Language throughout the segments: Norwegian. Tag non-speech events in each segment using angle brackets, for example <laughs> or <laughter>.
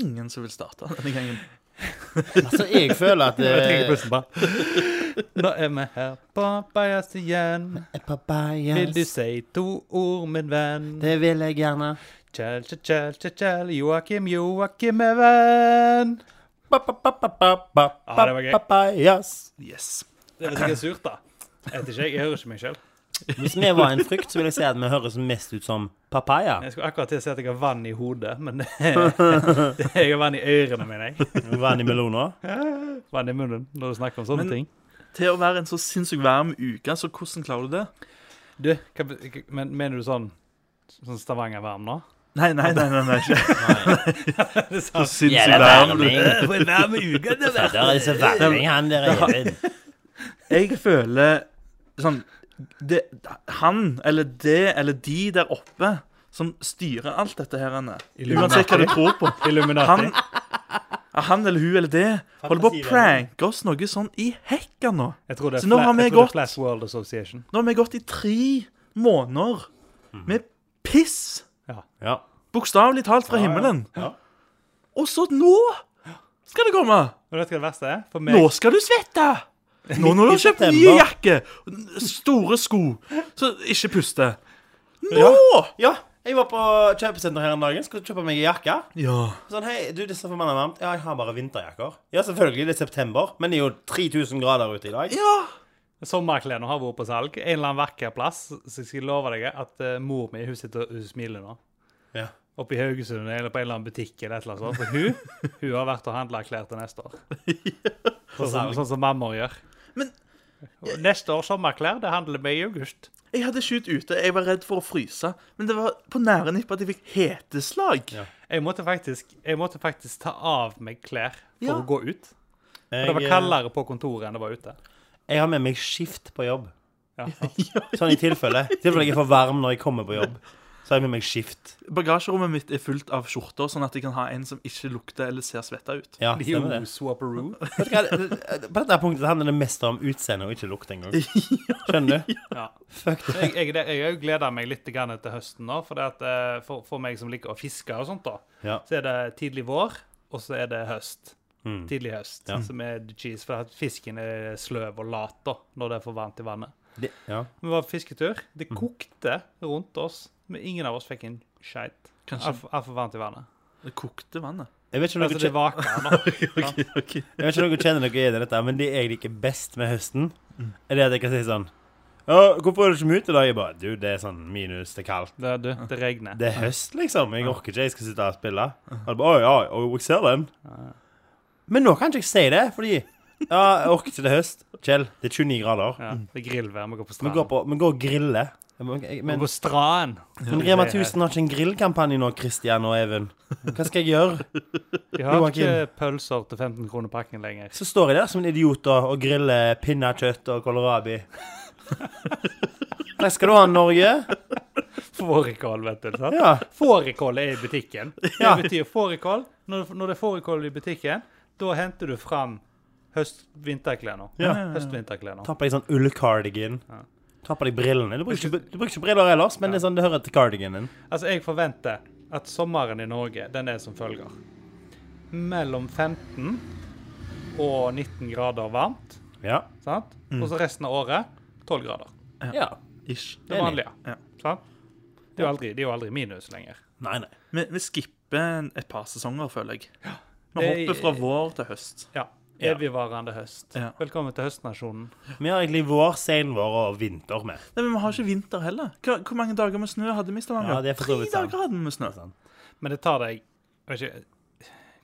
ingen som vil starte denne gangen. Altså, <laughs> jeg føler at Jeg trenger eh, pusten bare. <laughs> Nå er vi her på Bajas igjen. Vil du eh, Papayas, si to ord, min venn? det vil jeg gjerne. Kjell, kjell, kjell, kjell, kjell. Joakim, Joakim er venn. Ja, Ah, det var gøy. Papayas. Yes. Det var sikkert surt, da. Jeg vet ikke, jeg hører ikke meg sjøl. Hvis vi var en frukt, så vil jeg si at vi høres mest ut som papaya. Jeg skulle akkurat til å si at jeg har vann i hodet, men <laughs> det, jeg har vann i ørene mine. jeg. Vann i <laughs> meloner. Vann i munnen når du snakker om sånne Men- ting. Til å være en så sinnssykt varm uke, så hvordan klarer du det? Du, hva, be- men, mener du sånn, sånn Stavanger-varm nå? Nei, nei, nei, <laughs> nei, nei ikke Det så sa Ja, det sinnssykt er varm. du. varming. Der er disse varming, han der Even. Jeg føler sånn det, Han eller det eller de der oppe som styrer alt dette her. Anne. Uansett hva du tror på. Han, Illuminati. ja, han eller hun eller det holder på å pranke oss noe sånn i hekka nå. Jeg tror det Så er, nå Fla- har vi jeg tror det gått- er Flash World Association. Nå har vi gått i tre måneder med piss, Ja. bokstavelig talt, fra himmelen. Og så nå skal det komme! Og vet du hva det verste er? For meg, Nå skal du svette! Nå når du har kjøpt nye september. jakker, store sko, så ikke puste. Nå! ja. Jeg var på kjøpesenter her en dag. Skulle kjøpe meg en jakke. Ja. Sånn, hei, du, det er så forbanna varmt. Ja, jeg har bare vinterjakker. Ja, selvfølgelig, det er september, men det er jo 3000 grader ute i dag. Ja. Sommerklærne har vært på salg. En eller annen vakker plass. Så jeg skal love deg at eh, mor mi hun sitter og hun smiler nå. Ja. Oppe i Haugesund eller på en eller annen butikk. eller et eller annet sånt. For hun, hun har vært og handla klær til <laughs> neste år. Sånn som, salg. sånn som mamma gjør. Men- Og Neste års sommerklær det handler vi i august. Jeg hadde ikke ut ute, jeg var redd for å fryse, men det var på nære nippet at jeg fikk heteslag. Ja. Jeg måtte faktisk, jeg måtte faktisk ta av meg klær for Ja. å gå ut. For Jeg, det var eh, kaldere på kontoret enn det var ute. jeg har med meg skift på jobb. Ja. Sånn <laughs> i tilfelle. I tilfelle jeg er for varm når jeg kommer på jobb. Så har jeg med meg skift. Bagasjerommet mitt er fullt av skjorter, sånn at jeg kan ha en som ikke lukter eller ser svetta ut. Ja, Jo, stemmer det. swapperoo. Vet du hva, På dette punktet handler det mest om utseende og ikke lukt <laughs> engang. Skjønner du? Ja. Fuck det. jeg, jeg, jeg, jeg gleder meg litt grann til høsten nå, for, det at, eh, for, for meg som liker å fiske og sånt, da, Ja. så er det tidlig vår, og så er det høst. Mm. Tidlig høst, Ja. som er the cheese, for at fisken er sløv og lat da, når det er for varmt i vannet. Det, ja. Vi var på fisketur. Det Mm. kokte rundt oss, men ingen av oss fikk en skeit. Kanskje Altfor alt for varmt i vannet. det kokte vannet. Jeg vet ikke om dere Altså, det vaker <laughs> nå. Jeg vet ikke om dere kjenner dere igjen i dette, men det jeg liker best med høsten, er det at jeg kan si sånn Ja, hvorfor er du ikke med ut i dag? Jeg bare Du, det er sånn minus, det er kaldt. Det, du, det regner. Det er høst, liksom. Jeg orker ikke, jeg skal sitte her og spille. Og det bare, Å ja, å, jeg ser den. Men nå kan ikke jeg si det, fordi Ja, jeg orker ikke det er høst. Kjell, det er 29 grader. Ja, det er grillvær, vi går Vi går, på stranden. på, vi går og griller. Men, Vi men, går på stranden. men Rema 1000 har ikke en grillkampanje nå, Christian og Even. Hva skal jeg gjøre? Vi har ikke Joakim. pølser til 15 kroner pakken lenger. Så står jeg der som en idiot da, og griller pinnekjøtt og kålrabi. Hva skal du ha, Norge? Fårikål, vet du. sant? Ja. Fårikål er i butikken. Ja. Det betyr fårikål. Når, når det er fårikål i butikken, da henter du fram høst-vinterklærne. Ja. Høst-vinterklærne. Ta på deg sånn ullcardigan. Ja. Ta på deg brillene. Du bruker, ikke, du bruker ikke briller ellers, men det er sånn det hører til cardiganen. Altså, jeg forventer at sommeren i Norge, den er som følger. Mellom 15 og 19 grader varmt, Ja. sant? Mm. Og så resten av året 12 grader. ja. Ish. Det Enig. vanlige. Ja. Sant? Det er jo aldri, det er jo aldri minus lenger. Nei, nei. Vi, vi skipper en- et par sesonger, føler jeg. Vi Det- hopper fra vår til høst. Ja. Ja. Evigvarende høst. Ja. Velkommen til høstnasjonen. Vi har egentlig vår, senvår og vinter med. Nei, men Vi har ikke vinter heller. Hva, hvor mange dager med snø hadde vi i Stavanger? Ja, det er for så Tre vidt sant. dager hadde vi med snø. Sant. Men det tar deg vet ikke,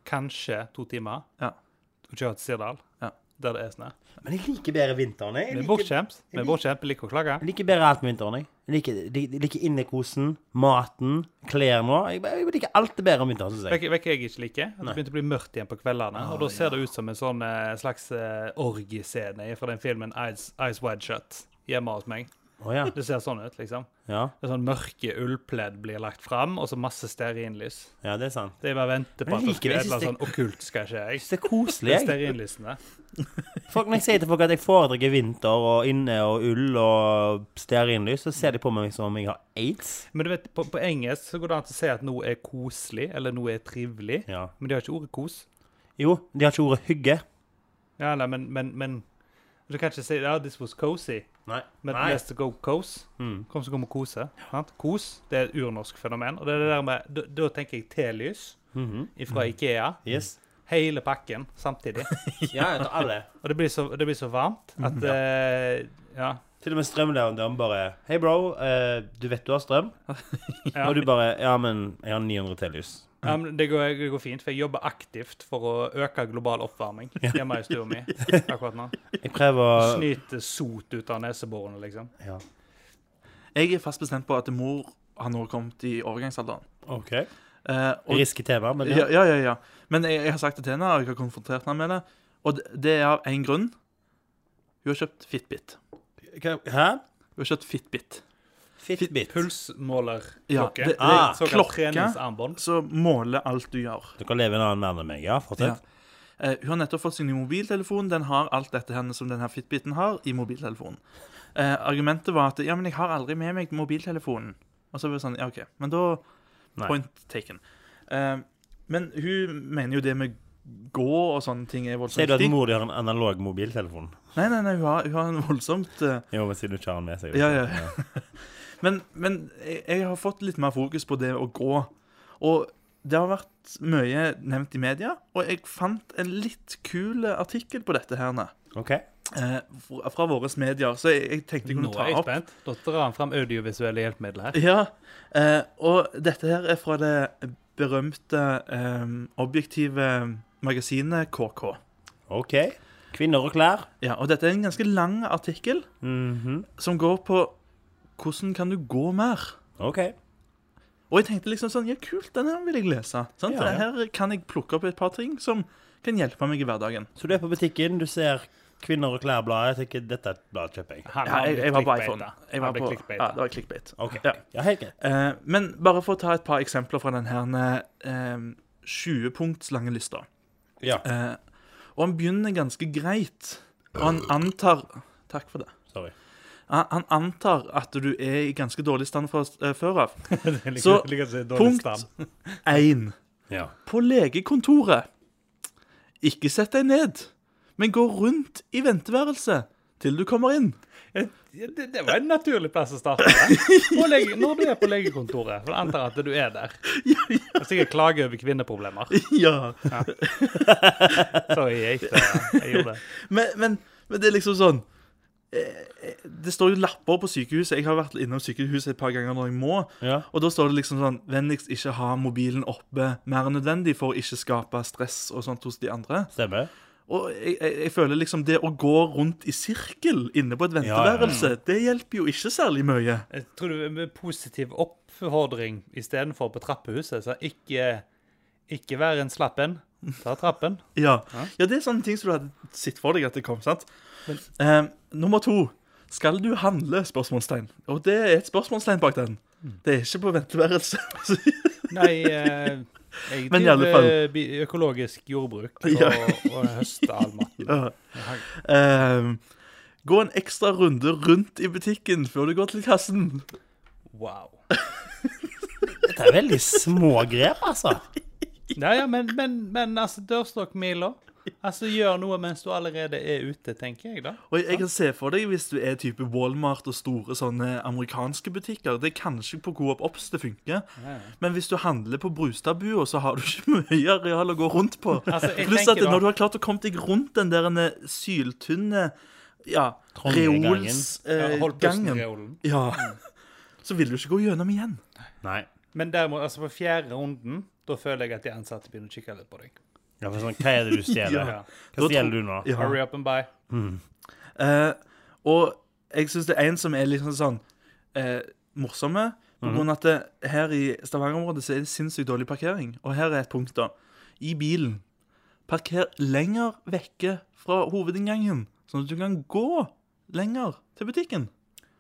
kanskje to timer Ja. å kjøre til Sirdal, Ja. der det er snø. Men jeg liker bedre vinteren. Jeg Vi er liker, bortskjemt. Vi er bortskjemt, vi liker å klage. jeg liker bedre alt med vinteren. Jeg Jeg liker, jeg jeg liker innekosen, maten, klærne. Jeg, jeg liker alt det bedre om vinteren, syns jeg. Vet vet ikke jeg ikke liker? At det begynte å bli mørkt igjen på kveldene. og da ser det ut som en sånn eh, slags eh, orgiescene fra den filmen Eyes, Eyes Wide Shut hjemme hos meg. Å ja. Det ser sånn ut, liksom. ja. Det er sånn Mørke ullpledd blir lagt fram, og så masse stearinlys. Ja, det er sant. Det er bare å vente på Men at jeg det liker skal det. et Jeg eller annet synes sånn okkult skal skje. Jeg Jeg synes det er koselig. det er jeg. stearinlysene. Folk, når jeg sier til folk at jeg foretrekker vinter og inne og ull og stearinlys, så ser de på meg som om jeg har aids. Men du vet, på, på engelsk så går det an til å si at noe er koselig, eller noe er trivelig. Ja. Men de har ikke ordet kos. Jo, de har ikke ordet hygge. Ja, nei, men, men, men Du kan ikke si ja, 'this was cozy', Nei. Mm. men 'let's go cos'. Kom så kom og kose. Sant? Kos det er et urnorsk fenomen. Og det er det der med, da, da tenker jeg telys Mhm. fra Mm. Ikea. Yes. Hele pakken samtidig. Ja, jeg tar alle. Og det blir så, det blir så varmt Mhm. at eh, Ja. Til og med strømleverandøren bare Hei, bro. eh, du vet du har strøm? <laughs> ja. Og du bare Ja, men jeg har 900 tellys. Ja, men det, går, det går fint, for jeg jobber aktivt for å øke global oppvarming hjemme i stua <laughs> mi akkurat nå. Jeg prøver å Snyter sot ut av neseborene, liksom. ja. Jeg er fast bestemt på at mor har nå kommet i overgangsalderen. OK. Eh, og, Risky tema, men ja, ja, ja. ja, ja. Men jeg, jeg har sagt det til henne, og jeg har konfrontert henne med det. Og det, det er av én grunn. Hun har kjøpt Fitbit. Hva- Hæ? Hun har kjøpt Fitbit. Fitbit. Ja, Pulsmålerklokke. det, det, Ah, såkalt Såkalt klokke treningsarmbånd. som måler alt du gjør. Dere lever i en annen verden enn meg, ja? Fortsett. Eh, hun har nettopp fått sin nye mobiltelefon. Den har alt dette henne som denne Fitbiten har i mobiltelefonen. Eh, argumentet var at ja, men jeg har aldri med meg mobiltelefonen. Og så var det sånn, ja, OK. Men da Nei. Point taken. Eh, men hun mener jo det med gå og sånne ting er voldsomt Sier du at viktig. mor di har en analog mobiltelefon? Nei, nei, nei, hun har, hun har en voldsomt eh, Jo, men siden du ikke har den med seg. Ja, ja. <laughs> Men, men jeg, jeg har fått litt mer fokus på det å gå. Og det har vært mye nevnt i media, og jeg fant en litt kul artikkel på dette her. nå. OK. eh, fra fra våre medier, så jeg, jeg tenkte jeg kunne Nå er ta jeg opp. spent. Da drar han fram audiovisuelle hjelpemidler her. Ja, eh, og dette her er fra det berømte eh, objektive magasinet KK. OK. Kvinner og klær. Ja, og dette er en ganske lang artikkel Mhm. som går på hvordan kan du gå mer? OK. Og jeg tenkte liksom sånn, ja kult, den her vil jeg lese. Sant? Ja, ja. Her kan jeg plukke opp et par ting som kan hjelpe meg i hverdagen. Så du er på butikken, du ser Kvinner og klær-bladet. Jeg tenker dette bladet kjøper jeg. Han Ja, har jeg, blitt jeg var på clickbaita. iPhone. Jeg Han var ble på, clickbaita. ja, det var clickbait. OK. Ja. Ja, helt greit. Eh, men bare for å ta et par eksempler fra denne eh, 20-punkts lange lista. Ja. Eh, og han begynner ganske greit. Og han antar Takk for det. Sorry. Han, han antar at du er i ganske dårlig stand fra eh, før av. <laughs> Det ligger- Så, ligger så Punkt dårlig stand. 1. Ja. På legekontoret. Ikke sett deg ned, men gå rundt i venteværelset til du kommer inn. Ja, Det, det var en naturlig plass å starte. det. På lege, når du er på legekontoret. For jeg antar at du er <laughs> der. Og sikkert klage over kvinneproblemer. Ja, Sorry, jeg, gikk det. jeg gjorde det. Men, men, men det er liksom sånn eh, eh, Det står jo lapper på sykehuset. Jeg har vært innom sykehuset et par ganger når jeg må. Ja. Og da står det liksom sånn Vennligst ikke ha mobilen oppe mer enn nødvendig for å ikke skape stress og sånt hos de andre. Stemmer. Og jeg, jeg, jeg føler liksom det å gå rundt i sirkel inne på et Ja, ja. venteværelse, det hjelper jo ikke særlig mye. Jeg tror det med positiv oppfordring istedenfor på trappehuset. Så ikke, ikke vær en slapp en. Ta trappen. Ja. ja, det er sånne ting som du hadde sett for deg at det kom, sant? Eh, nummer to. Skal du handle? spørsmålstegn. Og det er et spørsmålstegn bak den. Det er ikke på venteværelse. Nei, eh, jeg Men i alle driver fall. bi- økologisk jordbruk <laughs> og, Ja. og høster all maten. Ja. <laughs> Ehm, gå en ekstra runde rundt i butikken før du går til kassen. Wow. Dette er <laughs> veldig små grep, altså. Ja, ja, men, men, men altså, dørstokkmila Altså, gjør noe mens du allerede er ute, tenker jeg, da. Og jeg kan se for deg hvis du er type Walmart og store sånne amerikanske butikker. Det er kanskje på Coop Ops det funker, men hvis du handler på Brustadbua, så har du ikke <laughs> mye areal å gå rundt på. Altså, jeg Pluss at tenker da- når du har klart å komme deg rundt den der ene syltynne ja, Trange Ja, Mm. Hold pusten, reolsgangen, Reolen. ja, så vil du ikke gå gjennom igjen. Nei. Men derimot, altså, på fjerde runden, da føler jeg at de ansatte begynner å kikke litt på deg. Ja, for sånn, hva er det du stjeler? Ja. Hva stjeler du nå? Ja. Hurry up and buy. Eh, og jeg syns det er en som er liksom sånn eh, morsomme. På grunn av at det, her i Stavanger-området så er det sinnssykt dårlig parkering. Og her er et punkt, da. I bilen. Parker lenger vekke fra hovedinngangen, sånn at du kan gå lenger til butikken.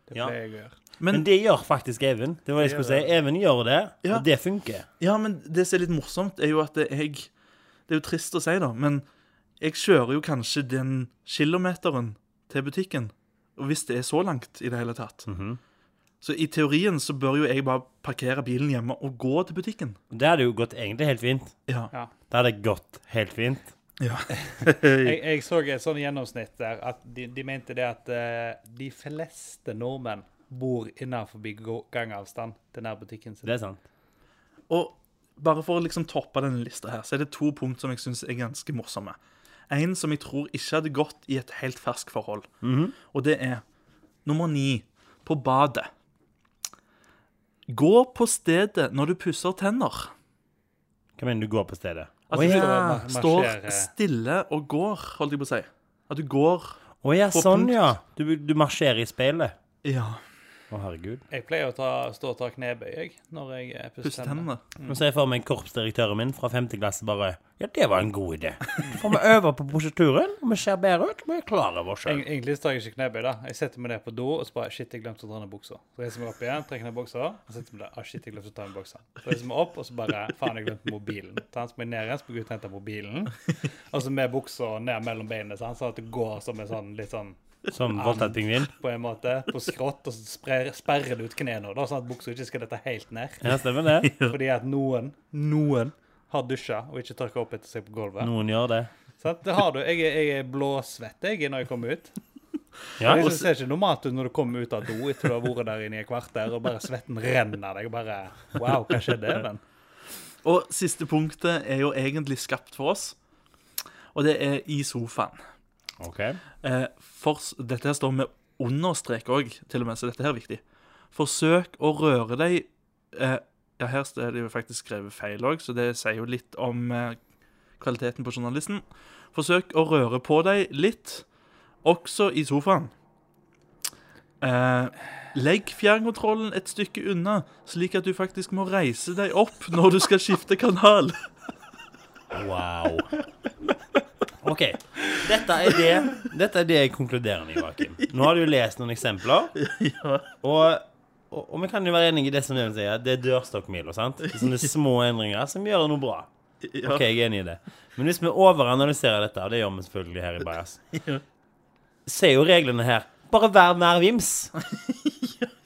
Det Ja. pleier jeg å gjøre. Men- Men det gjør faktisk Even. Det var det jeg Det skulle si. gjør Even gjør det, Ja. og det funker. Ja, men det som er litt morsomt, er jo at jeg Det er jo trist å si, da, men jeg kjører jo kanskje den kilometeren til butikken. Og hvis det er så langt i det hele tatt. Så i teorien så bør jo jeg bare parkere bilen hjemme og gå til butikken. Det hadde jo gått egentlig helt fint. Ja. Ja. Det hadde gått helt fint. ja. Jeg, jeg så et sånn gjennomsnitt der at de, de mente det at eh, de fleste nordmenn bor innenfor gå- gangavstand til nærbutikken sin. Det er sant. Og bare for å liksom toppe denne lista her, så er det to punkt som jeg syns er ganske morsomme. En som jeg tror ikke hadde gått i et helt ferskt forhold. Mhm. Og det er nummer ni på badet. Gå på stedet når du pusser tenner. Hva mener du går på stedet? At Å du ja. står- mar- står marsjerer. stille og går, holdt jeg på å si. At du går Å ja, På sånn punkt. ja. Du, du marsjerer i speilet. Ja, Å herregud. Jeg pleier å ta, stå og ta knebøy jeg, når jeg eh, pusser pusser tennene. tennene. Nå ser jeg for meg korpsdirektøren min fra femte klasse bare Ja, det var en god <laughs> idé. For vi øver på prosedyren, og vi ser bedre ut, og vi er klar over oss Eg- sjøl. Egentlig så tar jeg ikke knebøy. da. Jeg setter meg ned på do og så bare Shit, jeg glemte å ta ned buksa. Så reiser jeg meg opp igjen, trekker ned buksa. Og setter meg der. Ah, shit, jeg glemte å ta ned buksa. Så reiser jeg meg opp, og så bare Faen, jeg glemte mobilen. Sant? Så må jeg ned igjen, så må jeg ut og hente mobilen. Og så med buksa ned mellom beina, sant? sånn at det går som en sånn litt sånn Som voldtatt pingvin. på en måte, på skrått, og så sprer, sperrer du ut knærne, da, sånn at buksa ikke skal dette helt ned. Ja, stemmer <laughs> det. Fordi at noen, noen har dusja og ikke tørka opp etter seg på gulvet. Noen gjør det. Sant? det har du. Jeg, er- jeg er blåsvett jeg, når jeg kommer ut. Ja, det ser ikke normalt ut når du kommer ut av do etter du har vært der inne i et kvarter, og bare svetten renner deg. og Bare Wow, hva skjedde, Even? Og siste punktet er jo egentlig skapt for oss, og det er i sofaen. OK. Eh, for, dette her står med understrek òg, til og med, så dette her er viktig. Forsøk å røre deg eh, Ja, her er det jo faktisk skrevet feil òg, så det sier jo litt om eh, kvaliteten på journalisten. Forsøk å røre på deg litt, også i sofaen. Eh, legg fjernkontrollen et stykke unna, slik at du faktisk må reise deg opp når du skal skifte kanal. Wow. OK. Dette er det, dette er det jeg konkluderer med, Joakim. Nå har du jo lest noen eksempler. Og, og, og vi kan jo være enige i det som Even sier, at det er dørstokkmila. sant? Det er Sånne små endringer som gjør noe bra. Ja. OK, jeg er enig i det. Men hvis vi overanalyserer dette, og det gjør vi selvfølgelig her i Bajas, ser jo reglene her Bare vær mer vims.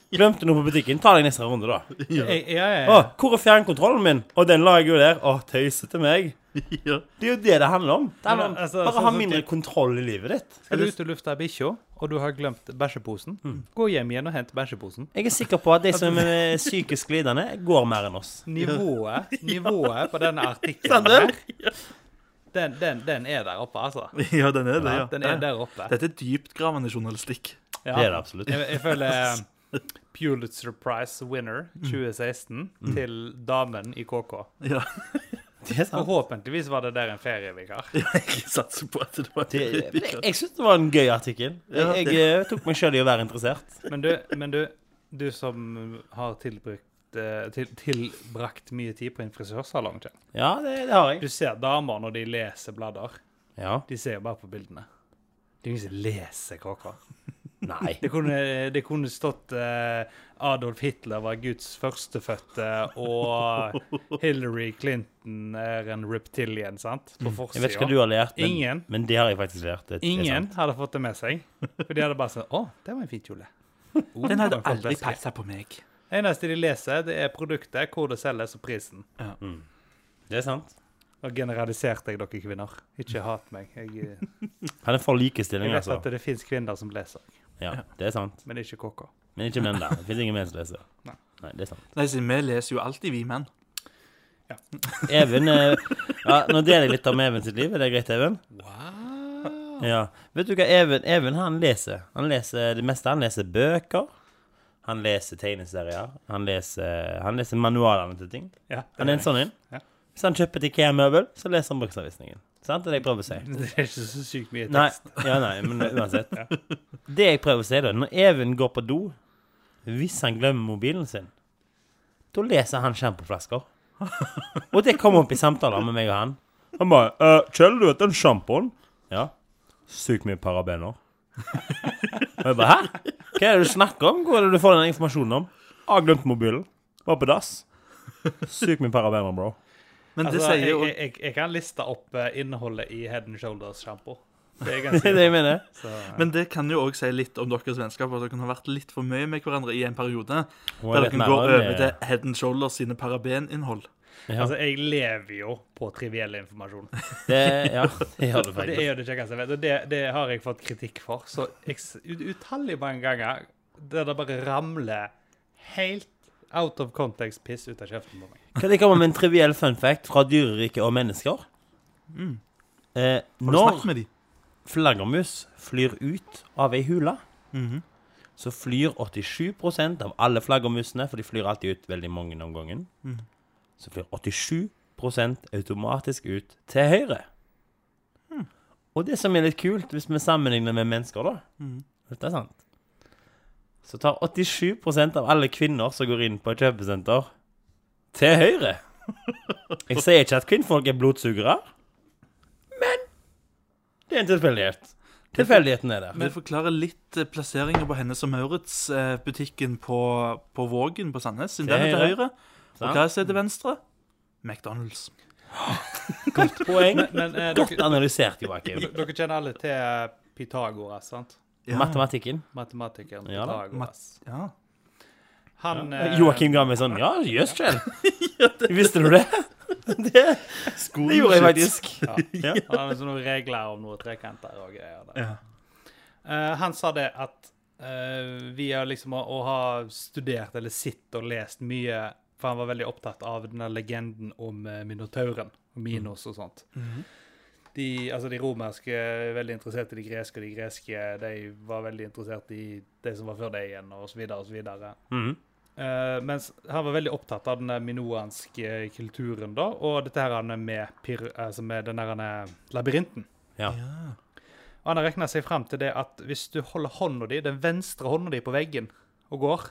Glemte noe på butikken, ta deg neste runde, da. Jeg, Å, jeg, jeg, hvor er fjernkontrollen min? Og den la jeg jo der. Å, tøysete meg. Ja. Det er jo det det handler om. Det handler om Men, altså, bare sånn ha som mindre typ- kontroll i livet ditt. skal du ut og lufte ei bikkje, og du har glemt bæsjeposen, Mm. gå hjem igjen og hent bæsjeposen. Jeg er sikker på at de <laughs> som er psykisk lidende, går mer enn oss. <laughs> Nivået, nivået på denne artikkelen her, den, den, den er der oppe, altså. <laughs> ja, den er det, ja. Den er der oppe. Dette er dyptgravende journalistikk. Ja. Det er det absolutt. Jeg, jeg føler <laughs> eh, Pulitzer Prize winner Mm. 2016 til damen i KK. Ja, Det er <laughs> sant. Forhåpentligvis var det der en <laughs> ferievikar. jeg satser på at det var Det, men jeg jeg syns det var en gøy artikkel. Jeg, jeg eh, tok meg sjøl i å være interessert. Men du, men du, du som har tilbrukt eh, til, tilbrakt mye tid på en frisørsalong. Kjell. Ja, det, det har Du jeg. ser damer når de leser blader. Ja. De ser jo bare på bildene. Det er ingen som leser KK. <laughs> Nei. Det kunne, det kunne stått eh, Adolf Hitler var Guds førstefødte, og Hillary Clinton er en reptilian, sant? På Mm. Jeg vet ikke hva du forsida. har lært, men, Ingen. men det har jeg faktisk lært. Det, det er Ingen sant. hadde fått det med seg. For de hadde bare sagt 'Å, det var en fin kjole'. Oh, Den hadde det var en flott aldri veske. passa på meg. Det eneste de leser, det er produktet, hvor det selges, og prisen. Det er sant. Nå generaliserte jeg dere kvinner. Ikke hat meg. Jeg, eh, Han er for likestilling, jeg vet altså. at det fins kvinner som leser, Ja, det er sant. men ikke KK. Men ikke menn der. Det fins ingen menn som leser. Nei. Nei, det er sant. Nei, siden vi leser jo alltid, vi menn. Even eh, ja, Nå deler jeg litt om Even sitt liv. Er det greit, Even? Ja. Vet du hva Even, Even han leser? Han leser det meste. Han leser bøker. Han leser tegneserier. Han leser, han leser manualene til ting. Ja, det, Han er en sånn en. Ja. Hvis han kjøper et IKEA-møbel, så leser han bruksanvisningen. Sant? Det er det jeg prøver å si. <laughs> det er ikke så sykt mye Nei, tekst. ja, nei, men <laughs> uansett. Det jeg prøver å si, da Når Even går på do, hvis han glemmer mobilen sin, da leser han <laughs> sjampoflasker. Og det kom opp i samtaler med meg og «Eh, han. Han bare 'Kjell, du vet den sjampoen?' Ja. Sykt mye parabener. Og jeg bare Hæ? Hva er det du snakker om? Hvor er det du får den informasjonen om? Jeg har glemt mobilen. Var på dass. Syk min parabener, bro. Men det Altså, sier jeg, jo jeg, jeg, jeg kan liste opp eh, innholdet i Head and Shoulders-sjampo. Det <laughs> er Det ganske er det jeg mener. så, eh, Men det kan jo òg si litt om deres vennskap, at dere kan ha vært litt for mye med hverandre i en periode. Hun Der er litt dere går nærmere over eh, med- til Head and Shoulders sine parabeninnhold. Ja. Altså, jeg lever jo på triviell informasjon. Det, <laughs> ja, det gjør du Og det er faktisk. jo det kjekkeste jeg vet, og det, det har jeg fått kritikk for. Så eks- ut- utallige mange ganger der det bare ramler helt out of context-piss ut av kjeften på meg. Kan jeg komme med en triviell fun fact fra dyreriket og mennesker? Eh, Mm. Har du når snakket med dem? flaggermus flyr ut av ei hule, så flyr 87 av alle flaggermusene, for de flyr alltid ut veldig mange om gangen, så flyr 87 automatisk ut til høyre. Og det som er litt kult, hvis vi sammenligner med mennesker, da Dette er sant. Så tar 87 av alle kvinner som går inn på et kjøpesenter, til høyre. Jeg sier ikke at kvinnfolk er blodsugere, men det er en tilfeldighet. Tilfeldigheten er der. Det forklarer litt eh, plasseringen på Hennes og Maurits-butikken på, på Vågen på Sandnes. Siden den er til høyre. Og hva er til venstre? McDonald's. Godt poeng. Men eh, Godt dere, analysert, Joakim. dere kjenner alle til eh, Pythagoras, sant? Matematikken. Matematikeren Ja da. Pythagoras. Ja. Han eh, Joakim ga meg sånn Ja, jøss, <laughs> Kjell. Visste du det? Det, det gjorde jeg faktisk. Ja, <laughs> han hadde sånne regler om noen trekanter og greier. Der. Ja. Eh, han sa det at eh, via liksom å, å ha studert eller sett og lest mye For han var veldig opptatt av denne legenden om eh, minotauren. og Minos og sånt. De, altså de romerske er veldig interessert i de greske, og de greske de var veldig interessert i de som var før deg igjen, og så videre og så videre. Mhm. Eh, mens han var veldig opptatt av den minoanske kulturen, da, og dette her han er med, pyr, altså med den her han er labyrinten. Ja. Og han har regna seg fram til det at hvis du holder hånda di, den venstre hånda di på veggen og går,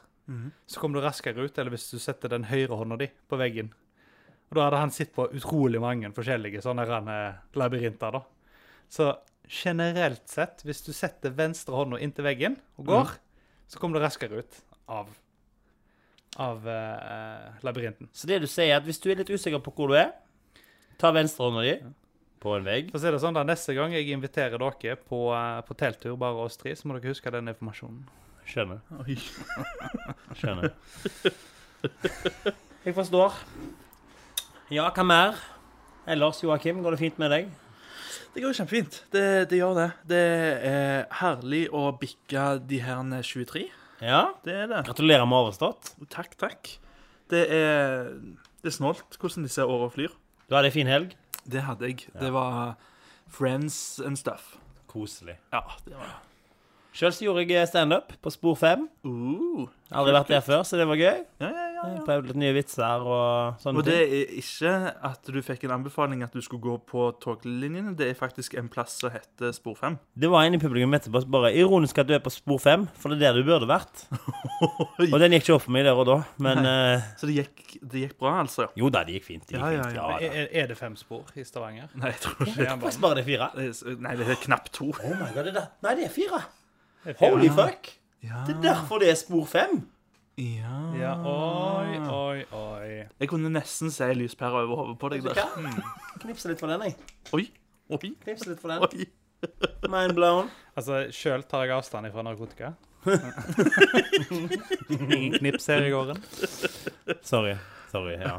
så kommer du raskere ut, eller hvis du setter den høyre hånda di på veggen. Og da hadde han sett på utrolig mange forskjellige sånne her, eh, labyrinter, da. Så generelt sett, hvis du setter venstre hånda inntil veggen og går, så kommer du raskere ut av, av eh, labyrinten. Så det du sier, er at hvis du er litt usikker på hvor du er, ta venstrehånda di på en vegg. For å si det sånn da, Neste gang jeg inviterer dere på, eh, på telttur, bare oss tre, så må dere huske den informasjonen. Skjønner. <laughs> Oi. Skjønner. Jeg forstår. Ja, hva mer? Ellers, Joakim, går det fint med deg? Det går jo kjempefint. Det, det gjør det. Det er herlig å bikke de her 23. Ja? Det er det. Gratulerer med overstått. Takk, takk. Det er, det er snålt hvordan disse åra flyr. Du hadde ei fin helg. Det hadde jeg. Det var friends and stuff. Koselig. Ja, det var Sjøl gjorde jeg standup på Spor 5. uh. Aldri vært der før, så det var gøy. Ja, ja, ja. Jeg Prøvde litt nye vitser og sånne Og det ting. er ikke at du fikk en anbefaling at du skulle gå på toglinjene. Det er faktisk en plass som heter Spor 5. <laughs> Det var en i publikum etterpå som bare Ironisk at du er på Spor 5, for det er der du burde vært. Og den gikk ikke opp for meg der og da, men eh, Så det gikk, det gikk bra, altså. Jo da, det gikk fint. Det gikk Ja, ja, fint. ja. Ja, Er, da. er- er det fem spor i Stavanger? Nei, jeg tror ikke Jernbanen? Faktisk bare det er fire. det. er- Nei, det er knapt to. Oh my god, det er Nei, det er fire. Er det fire? Holy fuck. Ja. Det er derfor det er spor fem. ja. Ja, oi, Ah. oi, oi. Jeg kunne nesten se lyspæra over hodet på deg der. Knipse litt for den, jeg. Oi, oi, Knipse litt for den. oi. Mind blown. Altså, sjøl tar jeg avstand <laughs> fra narkotika. Knips her i gården. Sorry. Sorry, ja.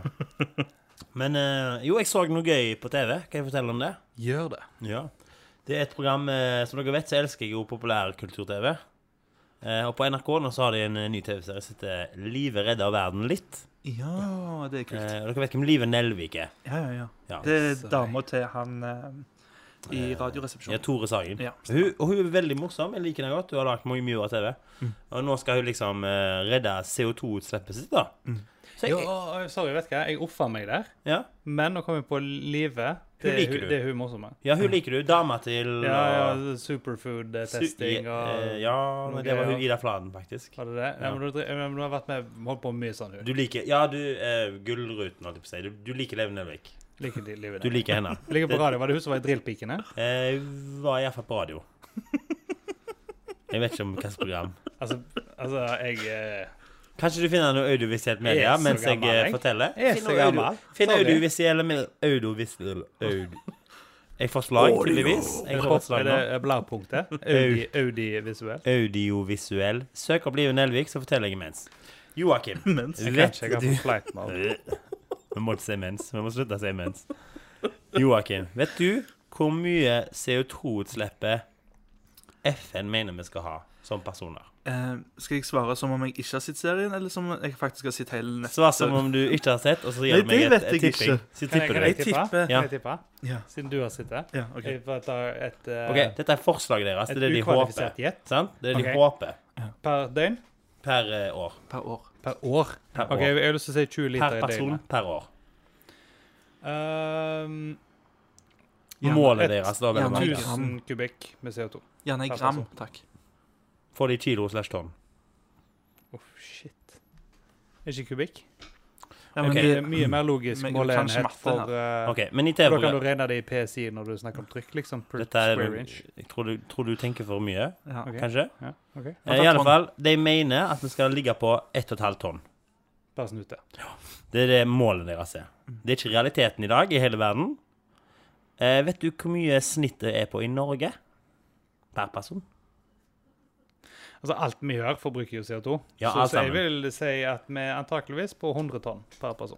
Men eh, jo, jeg så noe gøy på TV. Kan jeg fortelle om det? Gjør det. Ja. Det er et program eh, Som dere vet, så elsker jeg jo populærkultur-TV. Eh, og på NRK nå så har de en eh, ny TV-serie som heter 'Livet redder verden litt'. Ja, det er Eh, kult. og dere vet hvem Live Nelvik er? Ja, ja, ja. altså, Ja. Det er dama til han eh, i Ja, Radioresepsjonen. Tore Sagen. Ja. Hun, og hun er veldig morsom. Jeg liker henne godt. Hun har lagd mange mye bra TV. Og nå skal hun liksom eh, redde CO2-utslippet sitt, da. Så Jo, jeg, oi, sorry, vet du hva, jeg offa meg der. ja. Men nå kom jeg på live. Hun Det, liker er du. hu- det er hun morsomme. ja, hun liker du. Dama til Ja, og- ja, Superfood-testing eh, og Ja, men det var hun Ida Fladen, faktisk. Var det det? Ja, Ja. men du, ja, men du har vært med, holdt på med mye sånn. Du Du liker Ja, du eh, Gullruten, holdt jeg på å si. Du, du liker Leve Nelvik. liker de- livet Du ditt. liker <laughs> henne. Jeg Ligger på radio. Var det hun som var i Drillpikene? Eh, var iallfall på radio. <laughs> Jeg vet ikke om hvilket program. Altså, altså jeg eh, Kanskje du finner noe audiovisuelt media Jeg er så mens jeg gammel, eh, jeg. forteller? Jeg er Finn så noe audio- gammel. Finn Sorry. audiovisuelle med audiovisuell aud... Jeg får slag, Audio. tydeligvis. Jeg får et Er slag nå. det bladpunktet? Audi, audiovisuell? Audiovisuell. Søk opp Live Nelvik, så forteller jeg imens. Joakim. Mens <laughs> Jeg kan Vet ikke, jeg har du- fått flight mode. Vi må ikke si mens. Vi må slutte å si mens. Joakim, vet du hvor mye CO2-utslippet FN mener vi skal ha som personer? eh, Skal jeg svare som om jeg ikke har sett serien, eller som om jeg faktisk har sett hele nett? Svar som om du ikke har sett, og så gir Nei, du meg det et, vet et jeg tipping. ikke. Så Kan jeg, tipper kan du. jeg Jeg tippe? tipper. Kan jeg tippe? Ja, Siden du har sittet. ja, ok. Jeg får ta et, eh, Ok, Dette er forslaget deres. et Det er det de håper. ukvalifisert gjett Sant? Det er det de Ok. håper per døgn. per eh, år. Per år. Per år. Per, OK, år. jeg har lyst til å si 20 liter per i person døgnet. per år. Ehm, Gjerne Målet et- deres, da, Ja, vel å merke. tusen. 1000 kubikk med CO2. Gjerne i Per gram, person. takk. Får de kilo slash tonn? Uff, shit. Ikke kubikk? Ja, men Ok, Det er det, mye mer logisk Men kanskje måleenhet matte for eh, OK, men i Da kan du TV-programmet regne det i PSI når du snakker om trykk, liksom. Per Dette er square inch. jeg tror, du, tror du tenker for mye, <laughs> ja. Ok. kanskje? Ja, ok. Ja, Eh, I alle tonn. fall, de mener at vi skal ligge på 1,5 tonn. Bare snute. Det er det målet deres er. Det er ikke realiteten i dag i hele verden. Eh, vet du hvor mye snittet er på i Norge? Per person? Altså, alt vi gjør, forbruker jo CO2. Ja, så, alt så jeg sammen. vil si at vi antakeligvis på 100 tonn per person.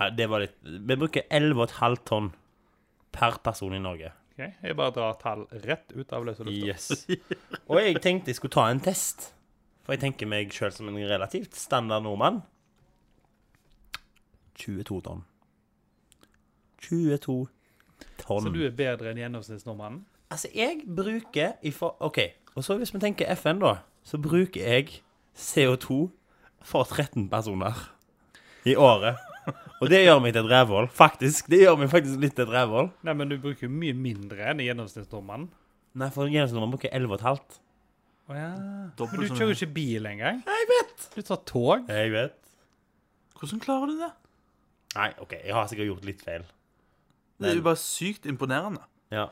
Nei, det var litt Vi bruker 11,5 tonn per person i Norge. Ok? Jeg bare drar tall rett ut av løse lufta. Yes. <laughs> Og jeg tenkte jeg skulle ta en test. For jeg tenker meg sjøl som en relativt standard nordmann. 22 tonn. 22 tonn. Så du er bedre enn gjennomsnittsnordmannen? Altså, jeg bruker i for... OK. Og så hvis vi tenker FN, da, så bruker jeg CO2 for 13 personer i året. Og det gjør meg til et rævhål. Faktisk. Det gjør meg faktisk litt til et rævhål. Nei, men du bruker jo mye mindre enn gjennomsnittsnordmannen. Nei, for gjennomsnittet bruker 11,5. Å ja. Men Dobbelt du Sånn, så kjører jo mye. ikke bil engang. Jeg vet. Du tar tog. Jeg vet. Hvordan klarer du det? Nei, OK. Jeg har sikkert gjort litt feil. Det er jo bare sykt imponerende. Ja.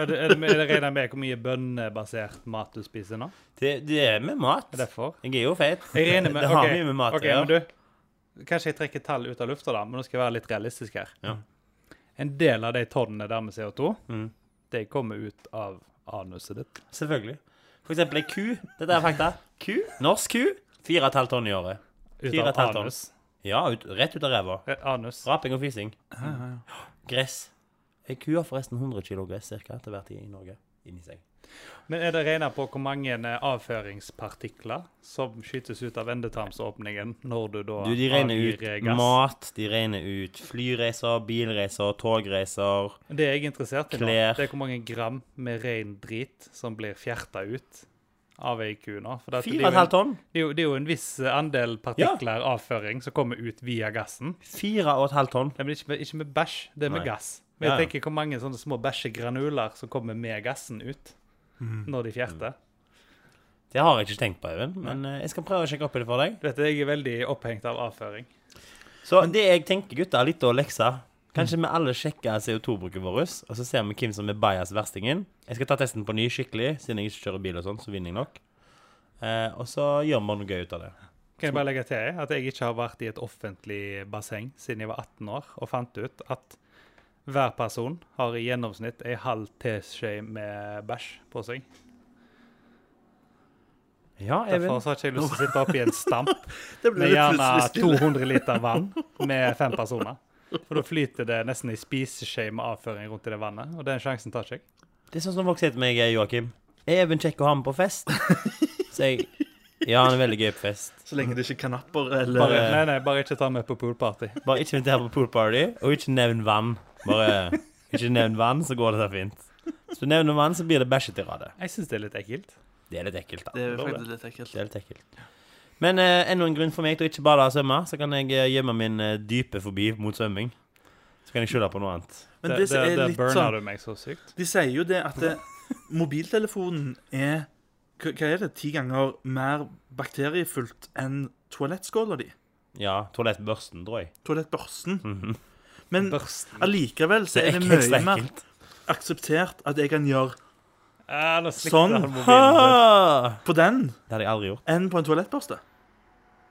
Er det, er det, er det regnet med hvor mye bønnebasert mat du spiser nå? Det, det er med mat. Er det derfor? Jeg er jo feit. Jeg regner med, det har ok, mye med mat å ok, gjøre. men du, Kanskje jeg trekker tall ut av lufta, da, men nå skal jeg være litt realistisk her. Ja. En del av de tonnene der med CO2, Mm. de kommer ut av anuset ditt. Selvfølgelig. For eksempel ei ku. Dette er fakta. Ku. Norsk ku. 4,5 tonn i året. Ut Fire og et halvt av tonn. anus. Ja, ut, rett ut av ræva. Eh, anus. Raping og fising. Ja, ja, ja. Gress. Ei ku har forresten 100 kg gress cirka, til hver tid i Norge inni seg. Men er det regna på hvor mange eh, avføringspartikler som skytes ut av endetarmsåpningen når du da Du, de regner avgir, ut eh, gass? mat, de regner ut flyreiser, bilreiser, togreiser Det jeg er interessert i, nå, Klær. det er hvor mange gram med ren drit som blir fjerta ut av ei ku nå. For dette- det er jo en- 4,5 tonn. Det er, jo, det er jo en viss eh, andel partikler avføring som kommer ut via gassen. 4,5 tonn. Nei, men ikke med, ikke med bæsj, det er med Nei. gass. Men jeg Ja, ja. tenker hvor mange sånne små bæsjegranuler som kommer med gassen ut Mhm. når de fjerter. Det har jeg ikke tenkt på, Øyvind, men eh, jeg skal prøve å sjekke opp i det for deg. Du vet, jeg er veldig opphengt av avføring. Så det jeg tenker, gutter, er litt å lekse. Kanskje vi alle sjekker CO2-bruket vårt, og så ser vi hvem som er bias verstingen. Jeg skal ta testen på ny skikkelig, siden jeg ikke kjører bil og sånn, så vinner jeg nok. Eh, og så gjør vi noe gøy ut av det. Kan jeg bare legge til at jeg ikke har vært i et offentlig basseng siden jeg var 18 år, og fant ut at hver person har i gjennomsnitt ei halv teskje med bæsj på seg. Ja, Derfor så har ikke jeg lyst til å sitte oppi en stamp Det ble Med litt gjerne plutselig stille. 200 liter vann med fem personer. For da flyter det nesten i spiseskje med avføring rundt i det vannet, og den sjansen tar ikke jeg. Det er sånn som folk sier til meg, Joakim. Er Even kjekk å ha med på fest? Så jeg Ja, han er veldig gøy på fest. Så lenge det ikke er kanapper eller Bare, nei, nei, bare ikke ta med på poolparty. Bare ikke inviter på poolparty, og ikke nevn vann. Bare ikke nevn vann, så går dette fint. Hvis du nevner vann, så blir det bæsjete rade. Jeg syns det er litt ekkelt. Det er litt ekkelt, da. Det er Lov det. faktisk litt ekkelt. Det er litt ekkelt. Men eh, enda en grunn for meg til å ikke bade og svømme, så kan jeg eh, gjemme min eh, dype fobi mot svømming. Så kan jeg skylde på noe annet. Men Det, det, det, som er det litt burner sånn du meg så sykt. De sier jo det at det, mobiltelefonen er hva hva er det? Ti ganger mer bakteriefullt enn toalettskåla di? Ja, toalettbørsten, tror jeg. Toalettbørsten. Men Børsten. allikevel så Det er er det ekkelt, så mye mer ekkelt. akseptert at jeg kan gjøre Ah, nå slikte Sånn. han mobilen. <laughs> Ha! på den Ah! Det hadde jeg aldri gjort. enn på en toalettbørste.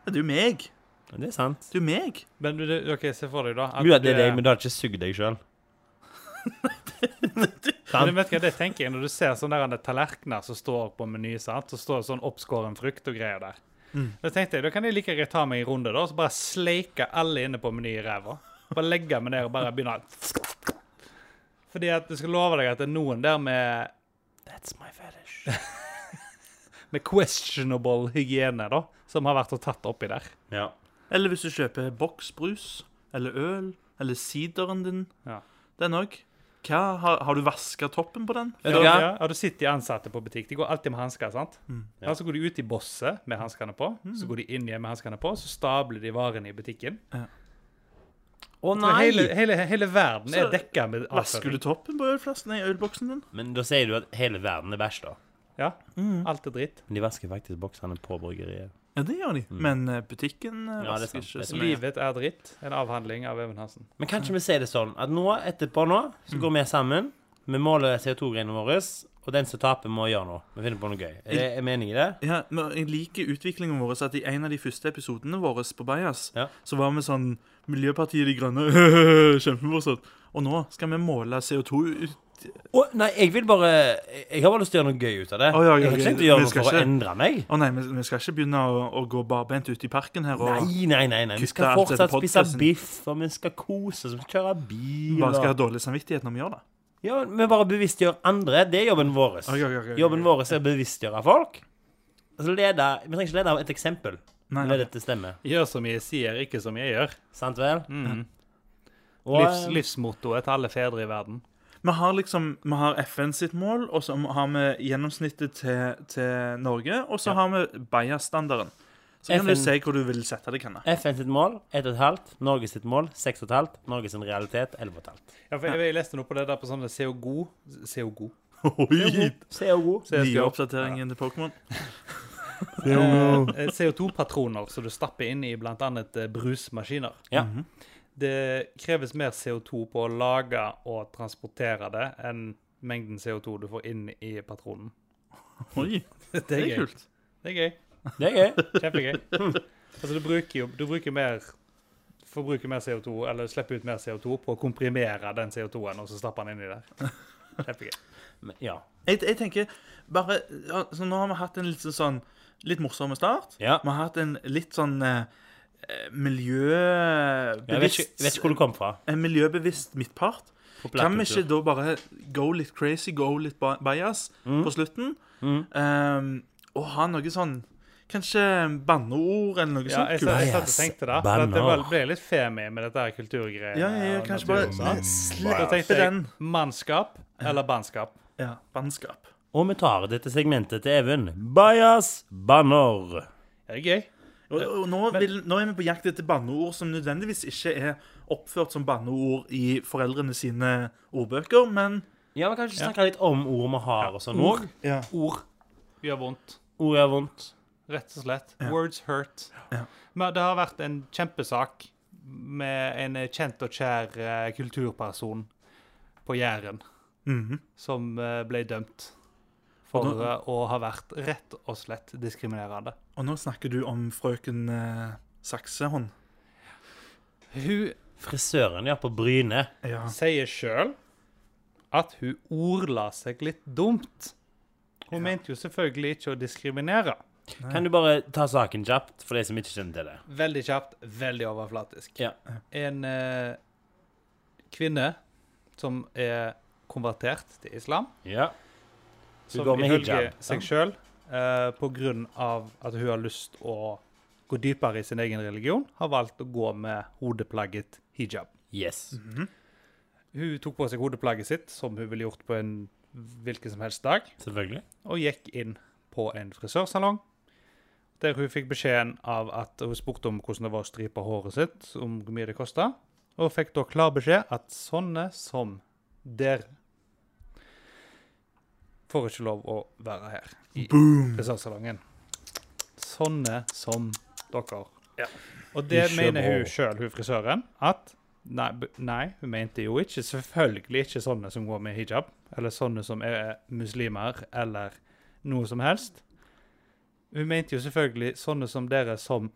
Det er jo meg. Det er sant. Det er jo meg. Men du, du- OK, se for deg, da. Jo, det er du deg, men du har ikke sugd deg sjøl. Men du vet hva det tenker jeg Når du ser sånne der tallerkener som står på meny, sant? så står det sånn oppskåren frukt og greier der. Da tenkte jeg, da kan jeg like greit ta meg en runde da, og så bare sleike alle inne på meny i ræva. Bare legge meg ned og bare begynne å Fordi at jeg skal love deg at det er noen der med, That's my fetish. med questionable hygiene, da, som har vært og tatt oppi der. Ja. Eller hvis du kjøper boksbrus eller øl eller sideren din. Ja. Den òg. Har, har du vaska toppen på den? Vet Ja, Mm. du hva? ja, ja, du sitter de ansatte på butikk. De går alltid med hansker. sant? Ja. Ja. Så går de ut i bosset med hanskene på, så går de inn igjen med hanskene på, så stabler de varene i butikken. Å Så Hele, nei! hele, hele verden Så er dekka med Vasker du toppen på ølflasken i ølboksen din? Men da sier du at hele verden er bæsj, da. Ja, Alt er dritt. Men de vasker faktisk boksene på bryggeriet. Ja, det gjør de. Men eh, butikken eh, Mm. Ja, det er vasker sant. ikke så mye. Livet er dritt. En avhandling av Even Hansen. Men kan ikke vi si det sånn at nå, etterpå nå, så går vi sammen. Vi måler CO2-greiene våre, og den som taper, må gjøre noe. Vi finner på noe gøy. Er det er mening i det? Ja, men jeg liker utviklingen vår at i en av de første episodene våre på Bajas, Ja. så var vi sånn Miljøpartiet De Grønne <laughs> Kjempemorsomt. Og nå skal vi måle CO2 ut Å, nei, jeg vil bare Jeg har bare lyst til å gjøre noe gøy ut av det. Å, ja, ja, jeg har ikke gøy. tenkt å gjøre Vi noe skal for å ikke- endre meg. Å nei, vi, vi skal ikke begynne å, å gå barbent ute i parken her og Nei, nei, nei. nei. Vi Kutte skal alt dette fortsatt spise podcasten. biff, og vi skal kose oss, vi skal kjøre bil bare skal ha og dårlig samvittighet når vi gjør det. Ja, Vi bare bevisstgjør andre. Det er jobben vår. Ok, ok, ok, ok. Jobben vår er å bevisstgjøre folk. Altså, lede, vi trenger ikke lede av et eksempel. Nei, Når dette stemmer. Gjør som jeg sier, ikke som jeg gjør. Sant vel? Mhm. Og, eh, Livs, livsmottoet til alle fedre i verden. Vi har liksom, vi har FN sitt mål, og så har vi gjennomsnittet til, til Norge, og så har vi Bayer-standarden. Så kan du FN. se hvor du vil sette det, <laughs> Kenne. FN sitt mål 1,5. Norge sitt mål 6,5. Norge sin realitet 11,5. Ja, for jeg, jeg leste noe på det der på sånne CO2 CO2. Oi! CO2. Nye CO2. oppdateringen til Pokémon. Eh, CO2-patroner som du stapper inn i bl.a. brusmaskiner. Ja. Mhm. Det kreves mer CO2 på å lage og transportere det enn mengden CO2 du får inn i patronen. <laughs> Oi, Det det er er gøy. kult. Det er gøy. Det er gøy. Kjempegøy. Altså, du bruker jo du bruker mer Forbruker mer CO2, eller slipper ut mer CO2 på å komprimere den CO2-en, og så stapper den inni der. Kjempegøy. Men, ja. Jeg, jeg tenker bare ja, Så nå har vi hatt en litt sånn litt morsom start. Ja. Vi har hatt en litt sånn eh, eh, Jeg vet ikke, miljøbevisst vet ikke hvor du kom fra. En miljøbevisst midtpart. Kan vi ikke da bare go litt crazy, go litt ba- bias på slutten? Ehm, og ha noe sånn Kanskje banneord eller noe Ja, sånt? jeg, kult. satt- jeg satt og Yes, tenkte det. For banner. at det var- ble litt femi med dette her kulturgreiene. ja, ja, ja, og kanskje natur- bare og sånn. Nei, Da slipp tenkte jeg den. mannskap eller bannskap. Ja, Bannskap. Og vi tar dette segmentet til Even. Bajas banner. Er det gøy? Og, og nå, vil, nå er vi på jakt etter banneord som nødvendigvis ikke er oppført som banneord i foreldrene sine ordbøker, men Ja, men Kanskje snakke litt om ord vi har og sånn òg. ja. Ord. Gjør vondt. Ord gjør vondt. Rett og slett. Words hurt. Men det har vært en kjempesak med en kjent og kjær eh, kulturperson på Jæren som eh, ble dømt for Mhm. Og eh, å ha vært rett og slett diskriminerende. Og nå snakker du om frøken eh, Saksehånd. Hun Frisøren, ja, på Bryne. Ja. sier sjøl at hun ordla seg litt dumt. Hun mente jo selvfølgelig ikke å diskriminere. Kan du bare ta saken kjapt, for de som ikke kjenner til det? Veldig kjapt, veldig overflatisk. Ja. En eh, kvinne som er konvertert til islam, ja. Hun som går med ifølge hijab. seg sjøl, eh, på grunn av at hun har lyst å gå dypere i sin egen religion, har valgt å gå med hodeplagget hijab. Yes. Hun tok på seg hodeplagget sitt, som hun ville gjort på en hvilken som helst dag. Selvfølgelig. og gikk inn på en frisørsalong. Der hun fikk beskjeden av at hun spurte om hvordan det var å stripe håret sitt, om hvor mye det kosta, og fikk da klar beskjed at sånne som dere får ikke lov å være her i frisørsalongen. Sånne som dere. Og det Ikke mener bra. hun sjøl, hun frisøren, at Nei, b- nei, hun mente jo ikke selvfølgelig ikke sånne som går med hijab, eller sånne som er muslimer, eller noe som helst. Hun mente jo selvfølgelig sånne som dere som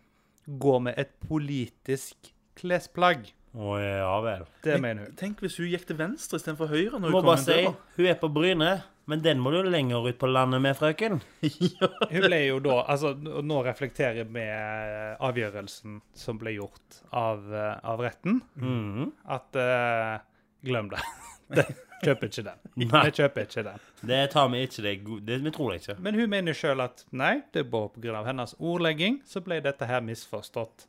går med et politisk klesplagg. Å ja vel. Det mener hun. Tenk hvis hun gikk til venstre istedenfor høyre. når Du må hun kom bare inn si døra. hun er på Bryne, men den må du lenger ut på landet med, frøken. Hun ble jo da Altså, n- nå reflekterer jeg med eh, avgjørelsen som ble gjort av, eh, av retten, Mhm. at eh, Glem det. <laughs> det. Kjøp ikke den. Nei. Jeg kjøper ikke den. Det tar vi ikke. Det, er go- det, vi tror det ikke. Men hun mener sjøl at nei, det var pga. hennes ordlegging så ble dette her misforstått.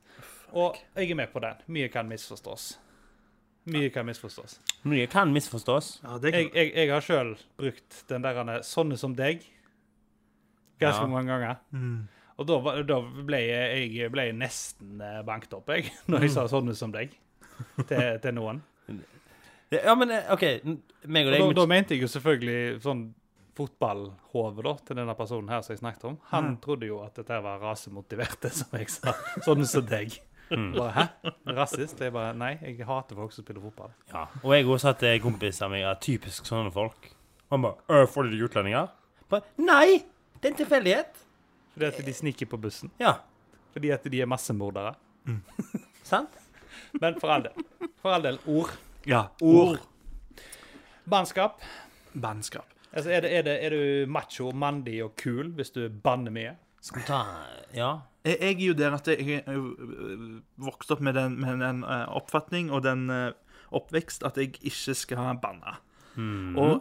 Og jeg er med på den. Mye kan misforstås. Mye kan misforstås. Mye kan misforstås. Ja, det Jeg, kan... jeg, jeg har sjøl brukt den der han er sånne som deg ganske Ja. mange ganger. Mm. Og da, var- da ble jeg, jeg ble nesten eh, banket opp, jeg, <laughs> når jeg sa 'sånne som deg' til, til noen. Det, ja, men eh, OK. n- Meg og Og deg da, vi- da mente jeg jo selvfølgelig sånn fotballhove da, til denne personen her som jeg snakket om. Han trodde jo at dette her var rasemotiverte, <laughs> som jeg sa. Sånn som deg. Bare, Hæ? Rasist? Jeg bare Nei, jeg hater folk som spiller fotball. Ja, og jeg også satt kompiser med ja, typisk sånne folk. Han bare «Øh, 'Får du de utlendinger?' Bare, Nei! Det er en tilfeldighet. Fordi at de sniker på bussen. Ja, Fordi at de er massemordere. sant? Men for all del. For all del ord. ja. Ord. Bannskap. Bannskap. Altså, er, det, er, det, er du macho, mandig og kul hvis du banner mye? Skal vi ta Ja. Jeg, jeg er jo der at jeg er jo, øh, vokst opp med den, med den øh, oppfatning og den øh, oppvekst at jeg ikke skal banne. Og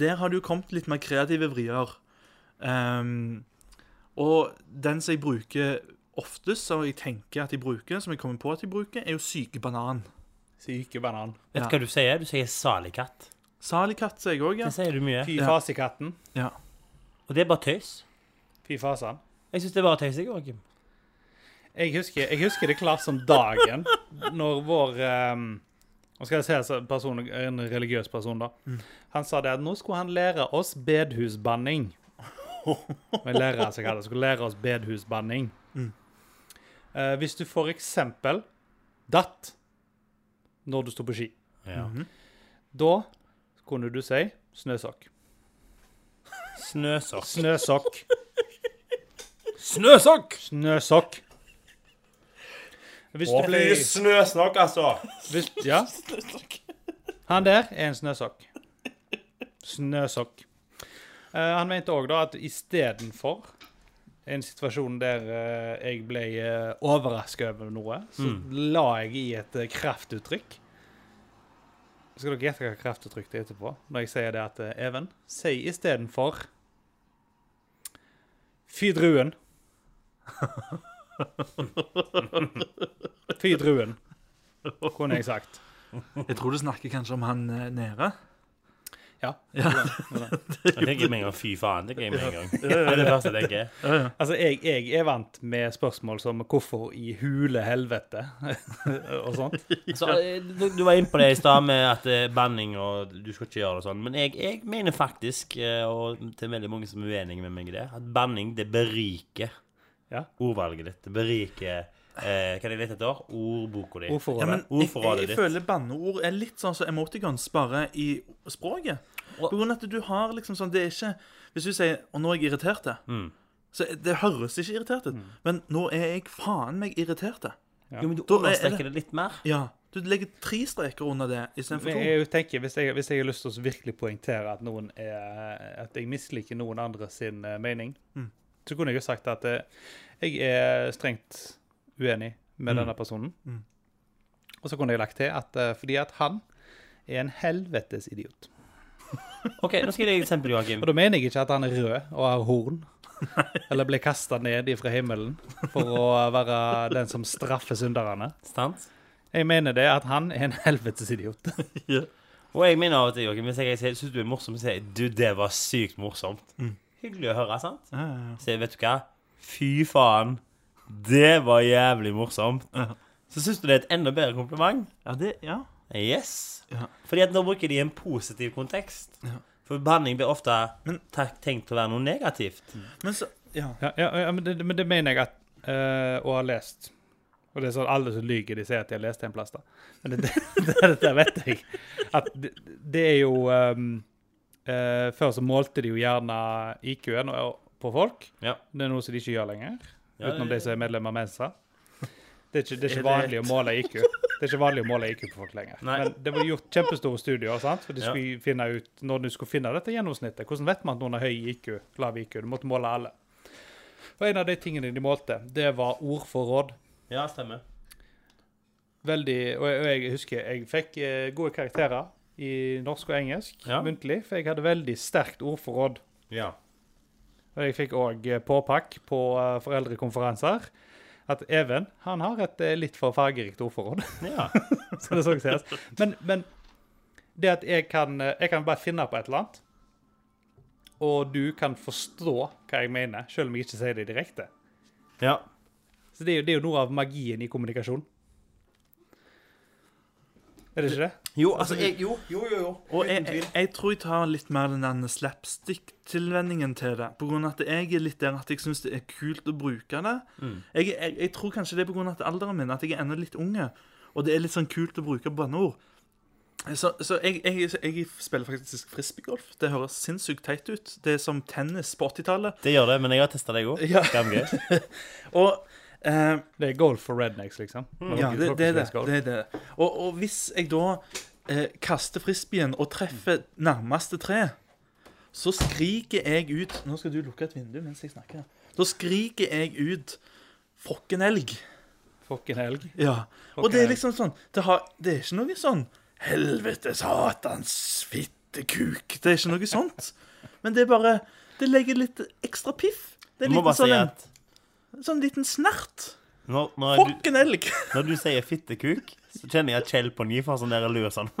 der har det jo kommet litt mer kreative vrier. Ehm, og den som jeg bruker oftest, som jeg tenker at jeg bruker, som jeg kommer på at jeg bruker, er jo syke banan. Syke banan. Vet du Ja. hva du sier? Du sier 'salikatt'. Salikatt, sier jeg òg, ja. Det sier du mye. Fy Ja. fasikatten. ja. Og det er bare tøys. Fy fasan. Jeg syns det er bare tøys, jeg, Joakim. Jeg husker, jeg husker det klart som dagen når vår um, Nå skal jeg si altså, person, en religiøs person, da. Han sa det at nå skulle han lære oss bedhusbanning. Men lærer seg hva det skulle lære oss bedhusbanning. Eh, hvis du for eksempel datt når du sto på ski, Ja. da kunne du si snøsokk. Snøsokk. Snøsokk. Snøsokk! Snøsokk. Hvis du ble snøsokk, altså. Hvis, ja. Han der er en snøsokk. Snøsokk. Eh, han mente òg da at istedenfor en situasjon der eh, jeg ble uh, overraska over noe, så la jeg i et eh, kraftuttrykk. Skal dere gjette hva kraftuttrykk det er etterpå? Når jeg sier det at eh, Even, si istedenfor Fy druen. Fy druen, kunne jeg sagt. Jeg tror du snakker kanskje om han eh, nede. Ja. Jeg tenker med en gang 'fy faen'. Det tenker jeg med <laughs> en gang. Det er det første jeg tenker. Altså, jeg, jeg er vant med spørsmål som 'hvorfor i hule helvete?' <laughs> og sånt. Så, eh, du, du var inne på det i stad med at eh, banning og du skal ikke gjøre det og sånn. Men jeg, jeg mener faktisk, eh, og til veldig mange som er uenige med meg i det, at banning det beriker Ja. ordvalget ditt. Det beriker eh, Hva er det jeg leter etter? Ordboka di. Ordforrådet. Ja, men jeg, Ordforrådet jeg, jeg ditt. føler banneord er litt sånn som emoticons, bare i språket. På grunn av at du har liksom sånn Det er ikke Hvis du sier 'Og nå er jeg irritert', så det høres ikke irritert ut. Men 'Nå er jeg faen meg irritert'. Jo, men du Da er- understreker det litt mer. Ja. Du legger tre streker under det istedenfor Men to. jeg tenker, hvis jeg, hvis jeg har lyst til å virkelig poengtere at, noen er, at jeg misliker noen andre sin eh, mening, Mm. så kunne jeg jo sagt at eh, jeg er strengt uenig Mm. med denne personen. Og så kunne jeg lagt til at eh, fordi at han er en helvetes idiot. OK, nå skal jeg gi deg et eksempel, Joakim. Og da mener jeg ikke at han er rød og har horn. Eller ble kasta ned ifra himmelen for å være den som straffer synderne. Stans. Jeg mener det at han er en helvetes idiot. Og jeg mener av og til, Joakim, hvis jeg sier- synes du er morsom, så sier jeg du, det var sykt morsomt. Hyggelig å høre, sant? Mm. Ja, ja, ja. Så jeg, vet du hva? Fy faen, det var jævlig morsomt. Så syns du det er et enda bedre kompliment? ja, det Ja. Yes. Ja. Fordi at nå bruker de en positiv kontekst. For behandling blir ofte tak- tenkt å være noe Mm. negativt. Men så Ja. Ja, ja, ja men, det, men det mener jeg at eh, å ha lest Og det er sånn alle som lyver, de sier at de har lest det en plass. da. Men det, det, det, det vet jeg. At det, det er jo ehm, eh, Før så målte de jo gjerne IQ-en og- på folk. Ja. Det er noe som de ikke gjør lenger, Ja, utenom de det- som er medlem av Mensa. Det er ikke, det er Er det ikke vanlig å måle IQ Det er ikke vanlig å måle IQ på folk lenger. Nei. Men det ble gjort kjempestore studier. sant? For de Ja. skulle finne ut, Når du skulle finne dette gjennomsnittet, hvordan vet man at noen har høy IQ, lav IQ? Du måtte måle alle. Og En av de tingene de målte, det var ordforråd. Ja, stemmer. Veldig, og jeg, og jeg husker jeg fikk eh, gode karakterer i norsk og engelsk Ja. muntlig, for jeg hadde veldig sterkt ordforråd. Ja. Og jeg fikk òg påpakk på eh, foreldrekonferanser at Even han har et eh, litt for fargerikt ordforråd. <laughs> ja. så det så ikke ses. Men, men det at jeg kan, eh, jeg kan bare finne på et eller annet, og du kan forstå hva jeg mener, selv om jeg ikke sier det direkte. ja. Så det er jo, det er jo noe av magien i kommunikasjon. Er det ikke det? Jo, altså jeg, Jo, jo, jo. jo. Og jeg, jeg, Uten tvil. jeg tror jeg tar litt mer den der slapstick-tilvenningen til det. På grunn av at jeg er litt der at jeg syns det er kult å bruke det. Jeg, jeg, jeg tror kanskje det er på grunn av at alderen min, at jeg er ennå litt unge. Og det er litt sånn kult å bruke banneord. Så, så jeg, jeg, jeg spiller faktisk frisbeegolf. Det høres sinnssykt teit ut. Det er som tennis på 80-tallet. Det gjør det, men jeg har testa deg òg. Ja. <laughs> Skamgøy. Og eh, Det er golf for rednecks, liksom. Ja, det, det, er det, det er det. Og, og hvis jeg da eh, kaster frisbeen og treffer nærmeste tre, så skriker jeg ut Nå skal du lukke et vindu mens jeg snakker. Da skriker jeg ut 'Fokken elg'. Fucking helg. Ja. Og Fokken det er elg. liksom sånn Det, har, det er ikke noe sånn 'Helvete, satans fittekuk'. Det er ikke noe sånt. Men det er bare Det legger litt ekstra piff. Det er Jeg liten, må bare si sånn, at en sånn liten snert. når, når, du, Fokken elg. når du sier fittekuk, så kjenner jeg at Kjell på ny får sånn der lue sånn.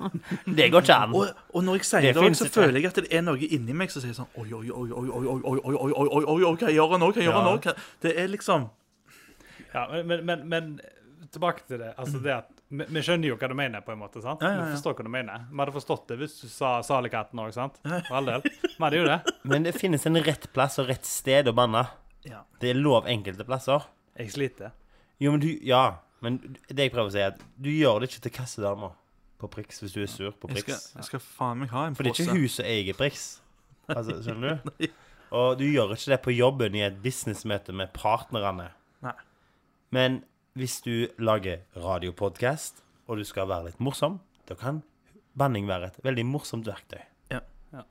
<laughs> Det går ikke an. Og, og når jeg sier det, Det også, finnes så ikke. føler jeg at det er noe inni meg som sier sånn Oi, oi, oi, oi, oi, oi, oi, oi, oi, oi, oi, oi, oi, hva gjør han nå? Hva gjør han nå? Hva- Det er liksom Ja, men, men, men, men tilbake til det. Altså det at, vi, vi skjønner jo hva du mener, på en måte. sant? Ja, ja, ja. Vi forstår hva du mener. Vi hadde forstått det hvis du sa Salekatten òg, sant? For all del. Vi hadde jo det. Men det finnes en rett plass og rett sted å banne. Ja. Det er lov enkelte plasser. Jeg sliter. Jo, men du Ja. Men det jeg prøver å si, er at du gjør det ikke til kassedama på Prix hvis du er sur på Jeg skal, Prix. jeg skal faen meg ha en For det er ikke hun som eier Prix. Altså, <laughs> skjønner du? Og du gjør ikke det på jobben i et businessmøte med partnerne. Nei. Men hvis du lager radiopodkast, og du skal være litt morsom, da kan banning være et veldig morsomt verktøy. Ja. Ja.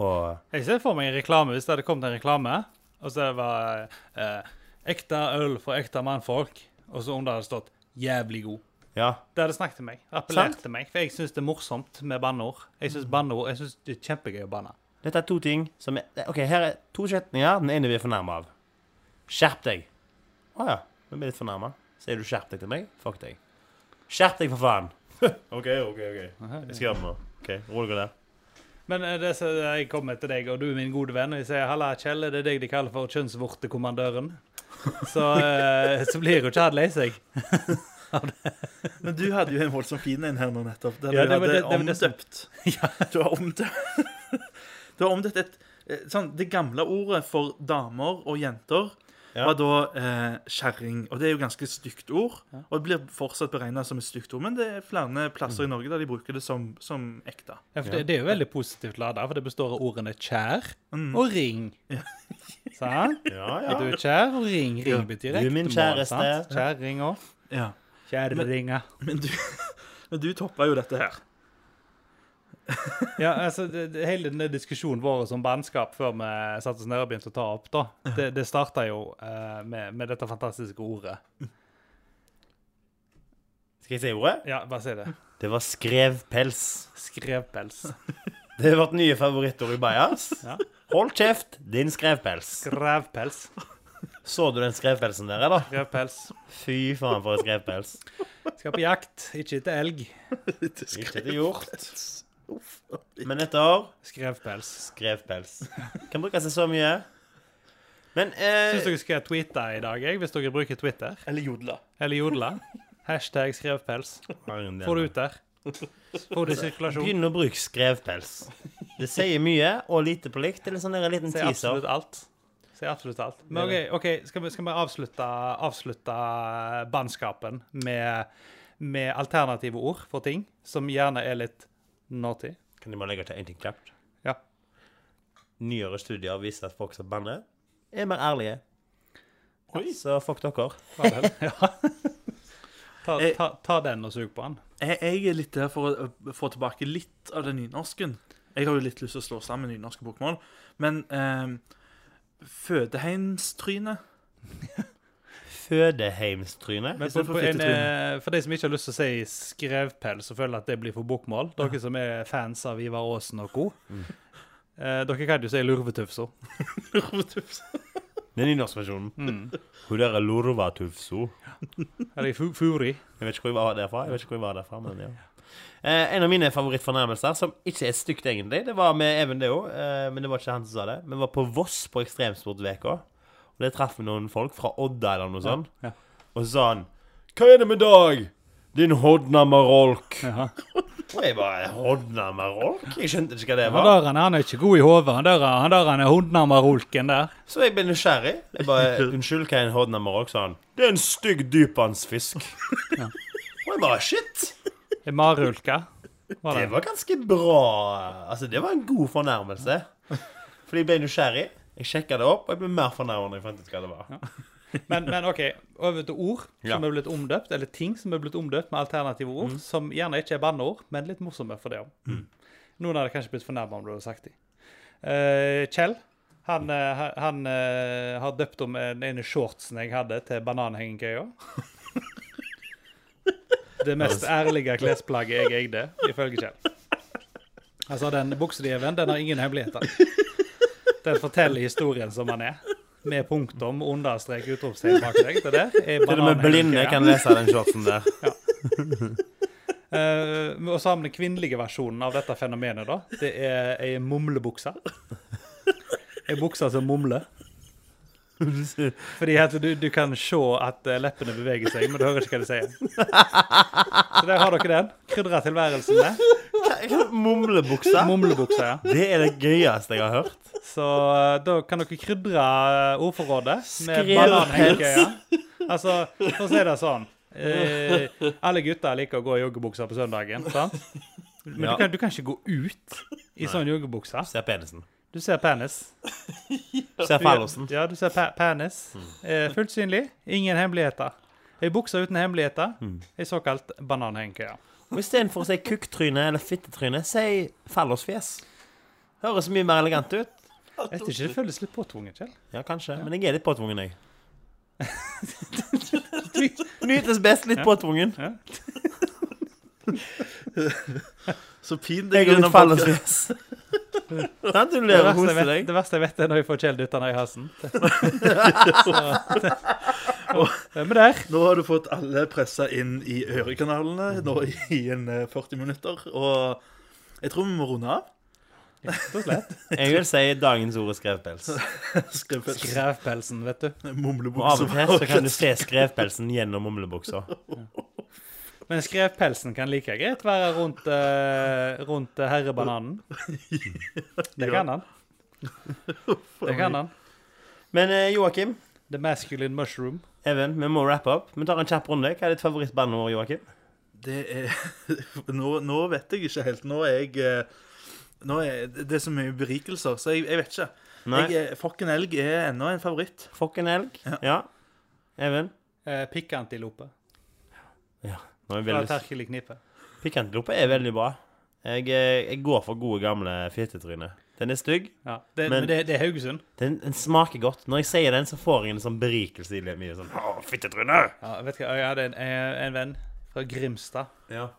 Og Jeg ser for meg en reklame hvis det hadde kommet en reklame, og så det var eh, ekte øl for ekte mannfolk, og så under hadde det stått 'jævlig god'. ja. Det hadde snakket til meg. Appellert til meg. For jeg syns det er morsomt med banneord. Jeg Mm. syns banneord Jeg synes det er kjempegøy å banne. Dette er to ting som er OK, her er to setninger. Den ene vi er fornærma av. Skjerp deg. Å ja. Nå blir jeg litt fornærma. Sier du 'skjerp deg' til meg? Fuck deg. Skjerp deg, for faen. <laughs> OK, OK, OK. Jeg skal gjøre det nå. OK, ro deg ned. Men eh, det som jeg kommer til deg, og du er min gode venn, og jeg sier 'halla, Kjell', det er deg de kaller for kjønnsvortekommandøren. Så, eh, så blir jo ikke han lei seg. Men du hadde jo en voldsomt fin en her nå nettopp, der Ja, du det var hadde det- det var det som- omdøpt <laughs> Du har omdøpt <laughs> Du har omdøpt et eh, sånn Det gamle ordet for damer og jenter Ja. var da eh, kjerring. Og det er jo ganske stygt ord. Og det blir fortsatt beregna som et stygt ord, men det er flere plasser i Norge der de bruker det som, som ekte. Ja, for det, det er jo veldig positivt lada, for det består av ordene 'kjær' Mm. og 'ring'. Sant? Ja, Du er kjær og ring. Ring betyr Du er rett. min kjæreste. Kjærring òg. Ja. Kjerringa. Men du, <laughs> men du toppa jo dette her. Ja, altså, det, det, hele denne diskusjonen vår som bandskap før vi satte oss ned og begynte å ta opp, da, det, det starta jo eh, med, med dette fantastiske ordet. Skal jeg si ordet? Ja, bare si det. Det var skrevpels. Skrevpels. Det er vårt nye favorittord i Bajas. Ja. Hold kjeft, din skrevpels. Skrevpels. Så du den skrevpelsen der, da? Skrevpels. Fy faen, for en skrevpels. Skal på jakt, ikke etter elg. Ikke etter hjort. Men etter Skrevpels. skrevpels. Kan bruke seg så mye. Men Syns eh, dere skal tweete i dag, jeg, hvis dere bruker Twitter? Eller jodla. Eller jodla? Hashtag skrevpels. Få det ut der. Få det i sirkulasjon. Begynn å bruke skrevpels. Det sier mye og lite på likt. Eller sånn der en liten Se teaser. absolutt alt. Så jeg absolutt alt. Men OK, ok, skal, vi, skal vi avslutte, avslutte bannskapen med, med alternative ord for ting som gjerne er litt naughty? Kan jeg bare legge til én ting kjapt? Ja. Nyere studier viser at folk som banner, er mer ærlige. Så fuck dere. Ta, den. <laughs> Ja. ta, ta, ta den og sug på den. Jeg, jeg er litt der for å eh, få tilbake litt av den nynorsken. Jeg har jo litt lyst til å slå sammen nynorske bokmål, men eh, Fødeheimstryne Fødeheimstryne. Men på, stedet for på en, fittetryne. eh, for de som ikke har lyst til å si skrevpels og føler at det blir for bokmål, dere som er fans av Ivar Aasen og co. Eh, dere kan jo si lurvetufso. Den nynorskversjonen. Mm. Hun der er lorvatufso. Eller fu furi. Jeg vet ikke hvor jeg var derfra. Jeg vet ikke hvor jeg var derfra, men ja. Eh, en av mine favorittfornærmelser, som ikke er stygt egentlig, det var med Even det òg, eh, men det var ikke han som sa det. Vi var på Voss på Ekstremsportveka, og der traff vi noen folk fra Odda eller noe sånt. Ja. Og så sa han Hva er det med dag? Din hodnamarolk. Ja. Og jeg bare Hodnamarolk? Jeg skjønte ikke hva det Han var. der han, han er ikke god i hodet. Han der, han der han er hundnamarolken der. Så jeg ble nysgjerrig. Jeg bare Unnskyld, hva er en hodnamarolk? sa han. Det er en stygg dypvannsfisk. Og jeg bare Shit. Er marulka. Var Det det? var ganske bra. Altså, det var en god fornærmelse. Fordi jeg ble nysgjerrig. Jeg sjekka det opp, og jeg ble mer fornærmet når jeg fant ut hva det var. Men, men OK, over til ord Ja. som er blitt omdøpt, eller ting som er blitt omdøpt med alternative ord, som gjerne ikke er banneord, men litt morsomme for det òg. Noen hadde kanskje blitt fornærma om du hadde sagt dem. Kjell, han, eh, han eh, har døpt om den ene shortsen jeg hadde, til bananhengekøya. <laughs> Det mest ærlige klesplagget jeg eide, ifølge Kjell. Altså, den buksedieven, den har ingen hemmeligheter. Den forteller historien som den er. Med punktum, understrek, utropstegn bak seg. Det der Til er og med blinde bananhengekøya. kan lese den shortsen der. <laughs> Eh, og så har vi den kvinnelige versjonen av dette fenomenet. da. Det er ei mumlebukse. Ei bukse som mumler. Fordi at du, du kan se at eh, leppene beveger seg, men du hører ikke hva de sier. Så der har dere den. Krydra tilværelsen med. Mumlebuksa. Mumlebukse, ja. Det er det gøyeste jeg har hørt. Så eh, da kan dere krydre eh, ordforrådet med Skrev bananhenke. Ja. Altså, for å si det sånn eh, Alle gutter liker å gå i joggebukser på søndagen, sant? Men Ja. du, kan, du kan ikke gå ut i sånn joggebukse. Ser penisen. Du ser penis. Ser Du- fallosen. Ja, du ser pe penis. Eh, fullt synlig. Ingen hemmeligheter. Ei bukse uten hemmeligheter. Ei såkalt bananhenke. Ja. Og istedenfor å si kukktryne eller fittetryne, si fallosfjes. Høres mye mer elegant ut. Jeg vet ikke, det føles litt påtvunget, Kjell. Ja, kanskje. Men jeg er litt påtvungen, jeg. Du- Nytes best litt påtvungen. Så pin Jeg deg er gjennom litt fallosfjes. Sant? Du ler og Det verste, jeg koser vet, deg. det verste jeg vet, er når jeg får Kjell dytta ned i <laughs> halsen. <laughs> Så, Hvem er der? Nå har du fått alle pressa inn i ørekanalene nå i en eh, 40 minutter, og jeg tror vi må runde av. <laughs> Rett og slett. Jeg vil si dagens ord er skrevpels. Skriv Skrevpelsen, vet du. Og av mumlebukse. og til så kan du se skrevpelsen gjennom mumlebuksa. Men skrevpelsen kan like greit være rundt, eh, rundt eh, <laughs> herrebananen. Det kan han. Det kan han. Men eh, Joakim, The masculine mushroom. Even, vi må wrap up. Vi tar en kjapp runde. Hva er ditt favorittbandord, Joakim? Det er <laughs> nå, nå vet jeg ikke helt. Nå er jeg eh, nå er Det er så mye berikelser, så jeg, jeg vet ikke. Nei. Jeg, er- Fucken elg er ennå en favoritt. Fuck en elg. Ja. Even? Eh, Pikkantilope. Nå er jeg Fra veldig... Terkel i knipet. Pikantlope er veldig bra. Jeg, eh, jeg går for gode, gamle fittetryne. Den er stygg. Ja, det, Men- men det, det er Haugesund. Den, den smaker godt. Når jeg sier den, så får jeg en sånn berikelse i livet. Sånn, Å, fittetryne! Ja, jeg vet ikke, jeg hadde en, en, en venn fra Grimstad. Ja.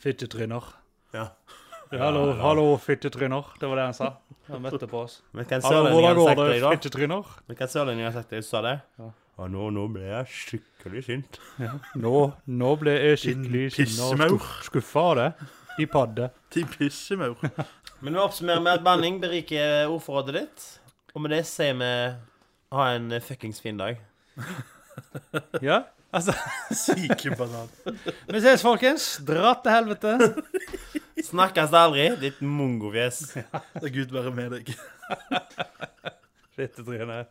Fittetryner. ja. Hallo, hallo, fittetryner. Det var det han sa. Han møtte på oss. Men hva Hallo, sørlendingen hvordan har går sagt det, deg da? fittetryner? Men hva sørlendingen har sagt deg, sa det? Ja. Ja, nå, nå ble jeg skikkelig sint. Nå, nå ble jeg skikkelig Din pissemaur. skuffa av det. I padde. Til pissemaur. Men vi oppsummerer med at banning beriker ordforrådet ditt. Og med det sier vi ha en fuckings fin dag. Ja, altså. Syke banan. Vi ses, folkens. Dra til helvete. Snakkes aldri, ditt mongofjes. Gud være med deg. Fittetryner.